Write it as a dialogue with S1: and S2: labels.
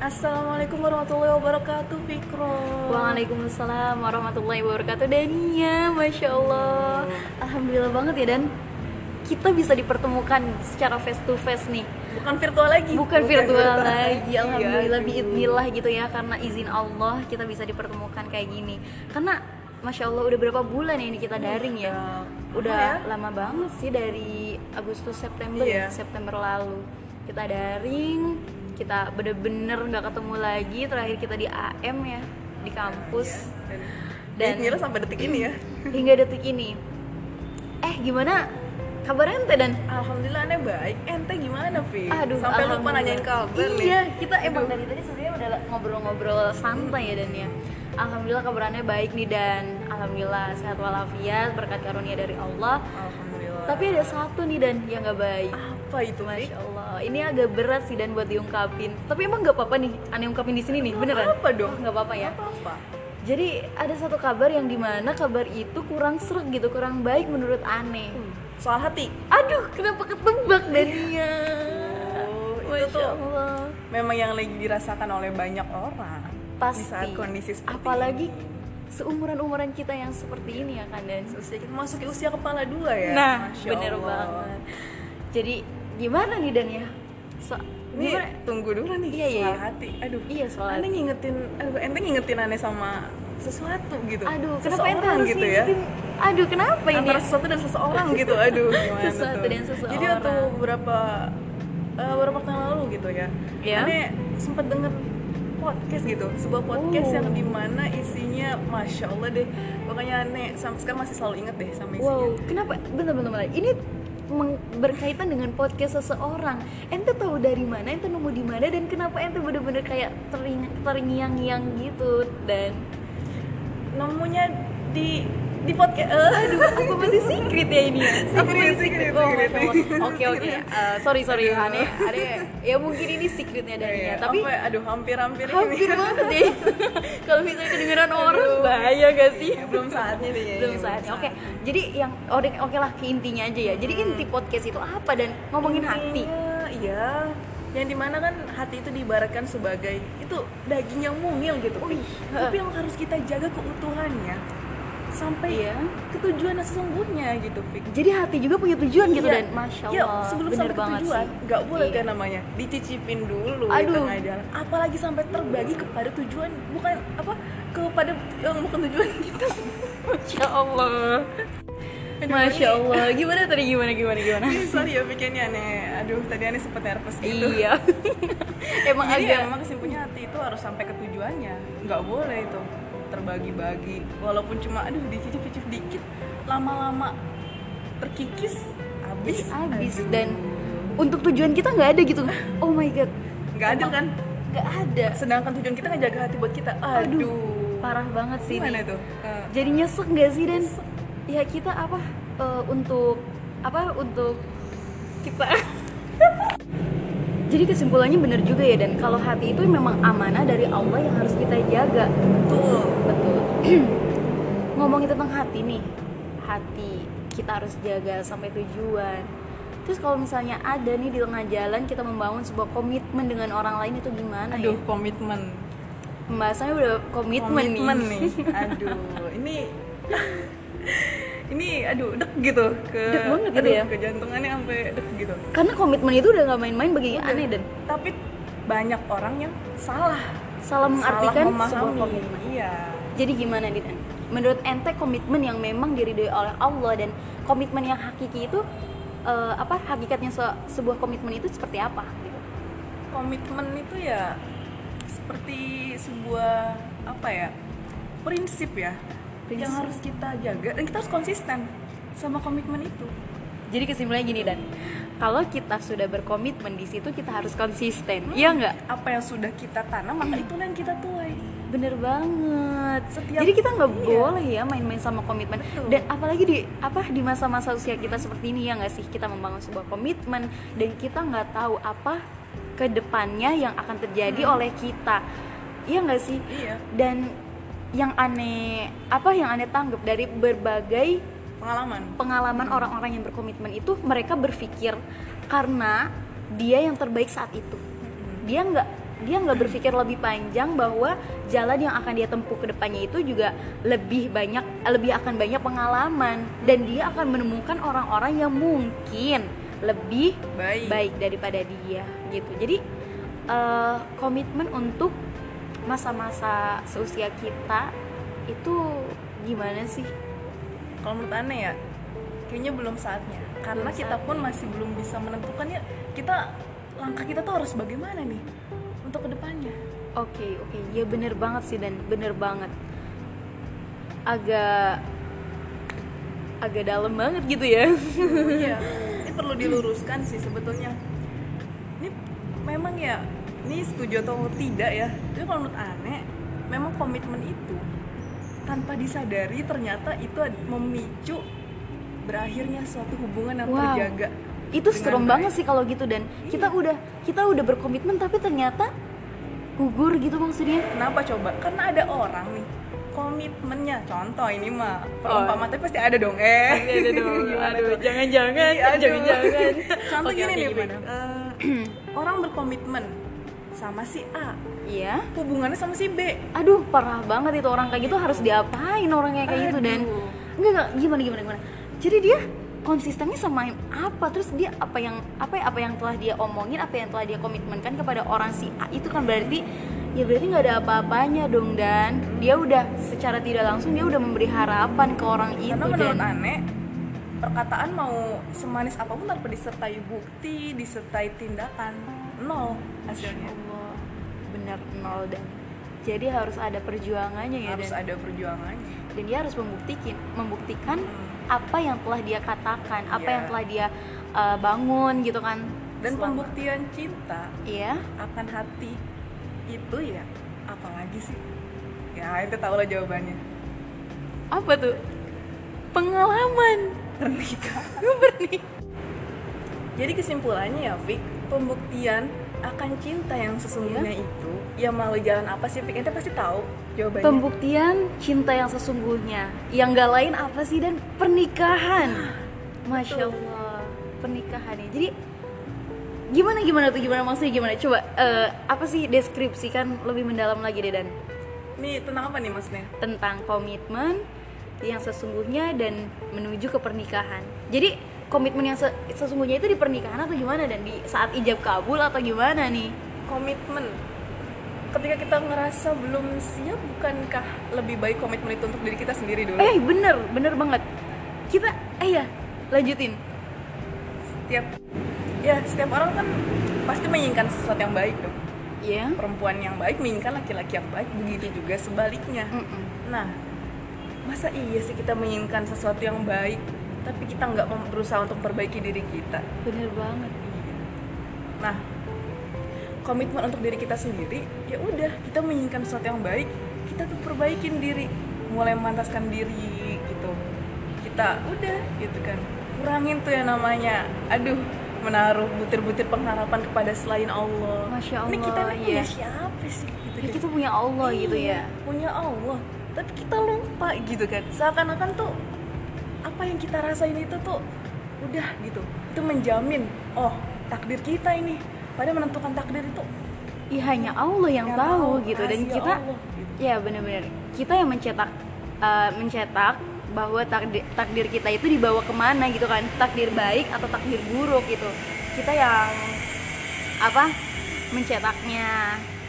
S1: Assalamualaikum warahmatullahi wabarakatuh Fikro
S2: Waalaikumsalam warahmatullahi wabarakatuh Dania, Masya Allah Alhamdulillah banget ya Dan Kita bisa dipertemukan secara face to face nih
S1: Bukan virtual lagi
S2: Bukan virtual
S1: virtual
S2: lagi Alhamdulillah
S1: Iya, aduh.
S2: biidnillah gitu ya Karena izin Allah kita bisa dipertemukan kayak gini Karena Masya Allah udah berapa bulan ya ini kita daring ya
S1: iya.
S2: Udah
S1: Lama
S2: lama banget sih dari Agustus September ya,
S1: Iya.
S2: September lalu Kita daring Kita bener-bener nggak ketemu lagi Terakhir kita di AM ya Di kampus
S1: Dan
S2: Dan-
S1: nyala ya? sampai detik ini ya
S2: hingga detik ini. Eh gimana kabar ente dan
S1: Alhamdulillah aneh baik Ente gimana Fi?
S2: Aduh,
S1: sampai lupa
S2: alhamdulillah.
S1: nanyain kabar nih
S2: Iya, kita emang dari tadi sebenarnya udah ngobrol-ngobrol santai ya dan ya. Alhamdulillah kabarannya baik nih dan alhamdulillah sehat walafiat berkat karunia dari Allah.
S1: Alhamdulillah
S2: Tapi ada satu nih dan yang nggak baik.
S1: Apa itu Fi?
S2: Masya Allah, ini agak berat sih dan buat diungkapin. Tapi emang nggak apa-apa nih, aneh ungkapin di sini nih, beneran?
S1: apa dong?
S2: Nggak apa-apa ya.
S1: Apa?
S2: Jadi ada satu kabar yang dimana kabar itu kurang serak gitu, kurang baik menurut aneh. Iya.
S1: Soal hati
S2: Hmm. Aduh, kenapa ketebak Dania?
S1: Oh, itu
S2: Masya
S1: tuh
S2: Allah.
S1: memang yang lagi dirasakan oleh banyak orang
S2: Pasti.
S1: Di saat kondisi seperti
S2: Apalagi seumuran-umuran kita yang seperti ini ya kan Dan.
S1: ini. usia kita masuki usia kepala dua ya
S2: Nah,
S1: Masya
S2: bener
S1: Allah.
S2: banget. Jadi gimana nih Dan ya? So,
S1: Ini
S2: gimana?
S1: tunggu dulu nih
S2: Iya, iya,
S1: soal
S2: iya.
S1: hati. Aduh.
S2: Iya, soal
S1: Anda
S2: hati.
S1: ngingetin aduh ente ngingetin aneh sama sesuatu gitu.
S2: Aduh, kenapa
S1: seseorang
S2: ente harus
S1: gitu ya?
S2: ngikutin? Aduh, kenapa ini?
S1: Antara sesuatu dan seseorang gitu. Aduh, gimana
S2: Sesuatu
S1: tuh?
S2: dan seseorang.
S1: Jadi waktu beberapa eh, beberapa tahun lalu gitu ya.
S2: Iya.
S1: Aneh sempat denger podcast gitu, sebuah podcast
S2: Oh.
S1: yang dimana isinya masya Allah deh, pokoknya aneh sampai sekarang masih selalu inget deh sama isinya.
S2: Wow, kenapa? Bentar, bentar, bentar. Ini meng- berkaitan dengan podcast seseorang. Ente tahu dari mana? Ente nemu di mana? Dan kenapa ente bener-bener kayak tering- terngiang-ngiang gitu? Dan
S1: Nemunya di di podcast. eh,
S2: aduh, aku masih secret ya ini. ya? Aku
S1: Secret,
S2: masih
S1: secret,
S2: Oh,
S1: secret.
S2: Masya Allah. Oke, oke. Eh, sorry, sorry. Aneh, aneh. Ya mungkin ini secretnya
S1: iya,
S2: dari ya. Tapi
S1: apa ya? aduh hampir-hampir ini.
S2: hampir banget deh. Kalau misalnya kedengeran orang bahaya gak sih?
S1: Ya, belum saatnya deh ya,
S2: belum
S1: ya,
S2: saatnya Gitu, oke jadi yang oke oke lah ke intinya aja ya jadi inti podcast itu apa dan ngomongin hati
S1: Iya, iya yang dimana kan hati itu diibaratkan sebagai itu daging yang mungil gitu Ih, tapi yang harus kita jaga keutuhannya sampai
S2: Iya.
S1: ke tujuannya sesungguhnya gitu Fik
S2: jadi hati juga punya tujuan gitu
S1: Iya.
S2: dan masya
S1: Iya,
S2: allah
S1: sebelum
S2: bener
S1: sampai ke
S2: banget
S1: tujuan
S2: sih.
S1: nggak boleh
S2: Iya.
S1: kan namanya dicicipin dulu di
S2: Aduh.
S1: tengah jalan apalagi sampai terbagi kepada tujuan bukan apa kepada yang bukan tujuan kita
S2: masya allah masya allah gimana tadi gimana gimana gimana
S1: Ih, sorry ya bikinnya aneh aduh tadi aneh sempat nervous gitu
S2: iya emang
S1: Jadi
S2: agak
S1: ya, memang kesimpulannya hati itu harus sampai ke tujuannya. Nggak boleh itu terbagi-bagi. Walaupun cuma aduh dicicip-cicip dikit, lama-lama terkikis, habis.
S2: Iya, habis
S1: Aduh.
S2: dan untuk tujuan kita nggak ada gitu oh my god
S1: nggak adil kan?
S2: nggak ada
S1: Sedangkan tujuan kita ngejaga hati buat kita. Aduh.
S2: aduh parah banget sih ini.
S1: Gimana tuh? Eh,
S2: jadi nyesek gak sih dan ya kita apa eh, untuk apa untuk kita jadi kesimpulannya bener juga ya dan kalau hati itu memang amanah dari Allah yang harus kita jaga
S1: Betul.
S2: betul ngomongin tentang hati nih hati kita harus jaga sampai tujuan terus kalau misalnya ada nih di tengah jalan kita membangun sebuah komitmen dengan orang lain itu gimana
S1: Aduh,
S2: ya
S1: komitmen.
S2: pembahasannya udah komitmen, nih
S1: Aduh, ini ini aduh deg gitu ke
S2: Deg banget gitu
S1: aduh,
S2: ya?
S1: ke jantungannya sampai deg gitu.
S2: karena komitmen itu udah gak main-main bagi aneh dan
S1: Tapi banyak orang yang salah
S2: salah mengartikan
S1: Salah
S2: sebuah
S1: memahami.
S2: komitmen.
S1: Iya.
S2: Jadi gimana Ditan? Menurut ente komitmen yang memang diridhoi oleh Allah dan komitmen yang hakiki itu eh, apa hakikatnya se- sebuah komitmen itu seperti apa? gitu?
S1: Komitmen itu ya seperti sebuah apa ya? Prinsip ya. Yang
S2: Prinsip.
S1: harus kita jaga dan kita harus konsisten sama komitmen itu.
S2: Jadi kesimpulannya gini dan kalau kita sudah berkomitmen di situ kita harus konsisten, iya nggak?
S1: Apa yang sudah kita tanam maka itulah yang kita tuai.
S2: Bener banget.
S1: Setiap-
S2: Jadi kita nggak
S1: iya.
S2: boleh ya main-main sama komitmen.
S1: Betul.
S2: Dan apalagi di apa di masa-masa usia kita seperti ini ya nggak sih kita membangun sebuah komitmen dan kita nggak tahu apa kedepannya yang akan terjadi
S1: Hmm.
S2: oleh kita. Iya nggak sih?
S1: Iya.
S2: Dan yang aneh apa yang aneh tanggap dari berbagai
S1: Pengalaman.
S2: pengalaman
S1: Hmm.
S2: orang-orang yang berkomitmen itu mereka berpikir karena dia yang terbaik saat itu dia nggak dia nggak berpikir lebih panjang bahwa jalan yang akan dia tempuh ke depannya itu juga lebih banyak lebih akan banyak pengalaman dan dia akan menemukan orang-orang yang mungkin lebih
S1: Baik.
S2: baik daripada dia gitu jadi eh, komitmen untuk masa-masa seusia kita itu gimana sih
S1: kalau menurut aneh ya kayaknya belum saatnya karena
S2: Belum
S1: kita pun masih belum bisa menentukannya kita langkah kita tuh harus bagaimana nih untuk kedepannya
S2: oke oke ya bener banget sih dan bener banget agak agak dalam banget gitu ya
S1: iya ini perlu diluruskan sih sebetulnya ini memang ya ini setuju atau tidak ya tapi kalau menurut aneh memang komitmen itu tanpa disadari ternyata itu ad- memicu berakhirnya suatu hubungan yang
S2: Wow.
S1: terjaga
S2: itu
S1: Dengan
S2: serem
S1: baik.
S2: banget sih kalau gitu dan
S1: Iya.
S2: kita udah kita udah berkomitmen tapi ternyata gugur gitu maksudnya
S1: Kenapa coba? Karena ada orang nih komitmennya. Contoh ini mah perumpamaan tapi pasti ada dong eh. Gimana tuh?
S2: jangan-jangan,
S1: Iya, aduh. Contoh gini nih, Pin. Eh, orang berkomitmen sama si A,
S2: Iya.
S1: hubungannya sama si B.
S2: Aduh, parah banget itu orang kayak gitu harus diapain orang kayak kayak gitu dan enggak enggak gimana gimana gimana. Jadi dia konsistennya sama yang apa terus dia apa yang apa ya- apa yang telah dia omongin apa yang telah dia komitmenkan kepada orang si A itu kan berarti ya berarti nggak ada apa-apanya dong dan dia udah secara tidak langsung dia udah memberi harapan ke orang itu
S1: Karena
S2: dan
S1: menurut aneh perkataan mau semanis apapun tanpa disertai bukti, disertai tindakan, nol hasilnya.
S2: Ya Allah benar nol dan jadi harus ada perjuangannya ya
S1: Harus
S2: dan
S1: ada perjuangannya.
S2: dan dia harus membuktikan membuktikan
S1: Hmm.
S2: apa yang telah dia katakan apa
S1: Iya.
S2: yang telah dia uh, bangun gitu kan
S1: Dan
S2: Selama-
S1: pembuktian cinta
S2: iya
S1: akan hati itu ya apalagi sih ya itu tau lah jawabannya
S2: apa tuh pengalaman
S1: pernikahan
S2: bernih
S1: jadi kesimpulannya ya Fik pembuktian akan cinta yang sesungguhnya itu ya melalui jalan apa sih Fik kita pasti tahu jawabannya
S2: pembuktian cinta yang sesungguhnya yang gak lain apa sih dan pernikahan masya
S1: Betul.
S2: allah pernikahan ya jadi gimana gimana tuh gimana maksudnya gimana coba eh, apa sih deskripsikan lebih mendalam lagi deh dan
S1: nih tentang apa nih maksudnya
S2: tentang komitmen yang sesungguhnya dan menuju ke pernikahan. Jadi komitmen yang se- sesungguhnya itu di pernikahan atau gimana dan di saat ijab kabul atau gimana nih?
S1: komitmen ketika kita ngerasa belum siap bukankah lebih baik komitmen itu untuk diri kita sendiri dulu
S2: Eh bener bener banget. Kita eh ya lanjutin.
S1: setiap ya setiap orang kan pasti menginginkan sesuatu yang baik dong
S2: Ya.
S1: perempuan yang baik menginginkan laki-laki yang baik begitu juga sebaliknya
S2: Mm.
S1: Nah, masa iya sih kita menginginkan sesuatu yang baik, tapi kita nggak mem- berusaha untuk memperbaiki diri kita?
S2: Bener banget.
S1: Nah, komitmen untuk diri kita sendiri, ya udah kita menginginkan sesuatu yang baik, kita tuh perbaikin diri, mulai memantaskan diri gitu. Kita udah gitu kan, kurangin tuh yang namanya, aduh menaruh butir-butir pengharapan kepada selain Allah.
S2: Masya
S1: Ini kita
S2: Allah,
S1: nih
S2: iya.
S1: punya siapa sih? Gitu
S2: Ya,
S1: kan.
S2: kita punya Allah gitu ya.
S1: Iya, punya Allah tapi kita lupa gitu kan seakan-akan tuh apa yang kita rasain itu tuh udah gitu itu menjamin oh takdir kita ini pada menentukan takdir itu
S2: Ya hanya Allah
S1: Yang
S2: yang tahu
S1: tahu,
S2: gitu dan
S1: rahasia
S2: kita
S1: Allah,
S2: ya bener-bener kita yang mencetak eh, mencetak bahwa takdir, takdir kita itu dibawa kemana gitu kan takdir baik atau takdir buruk gitu kita yang apa mencetaknya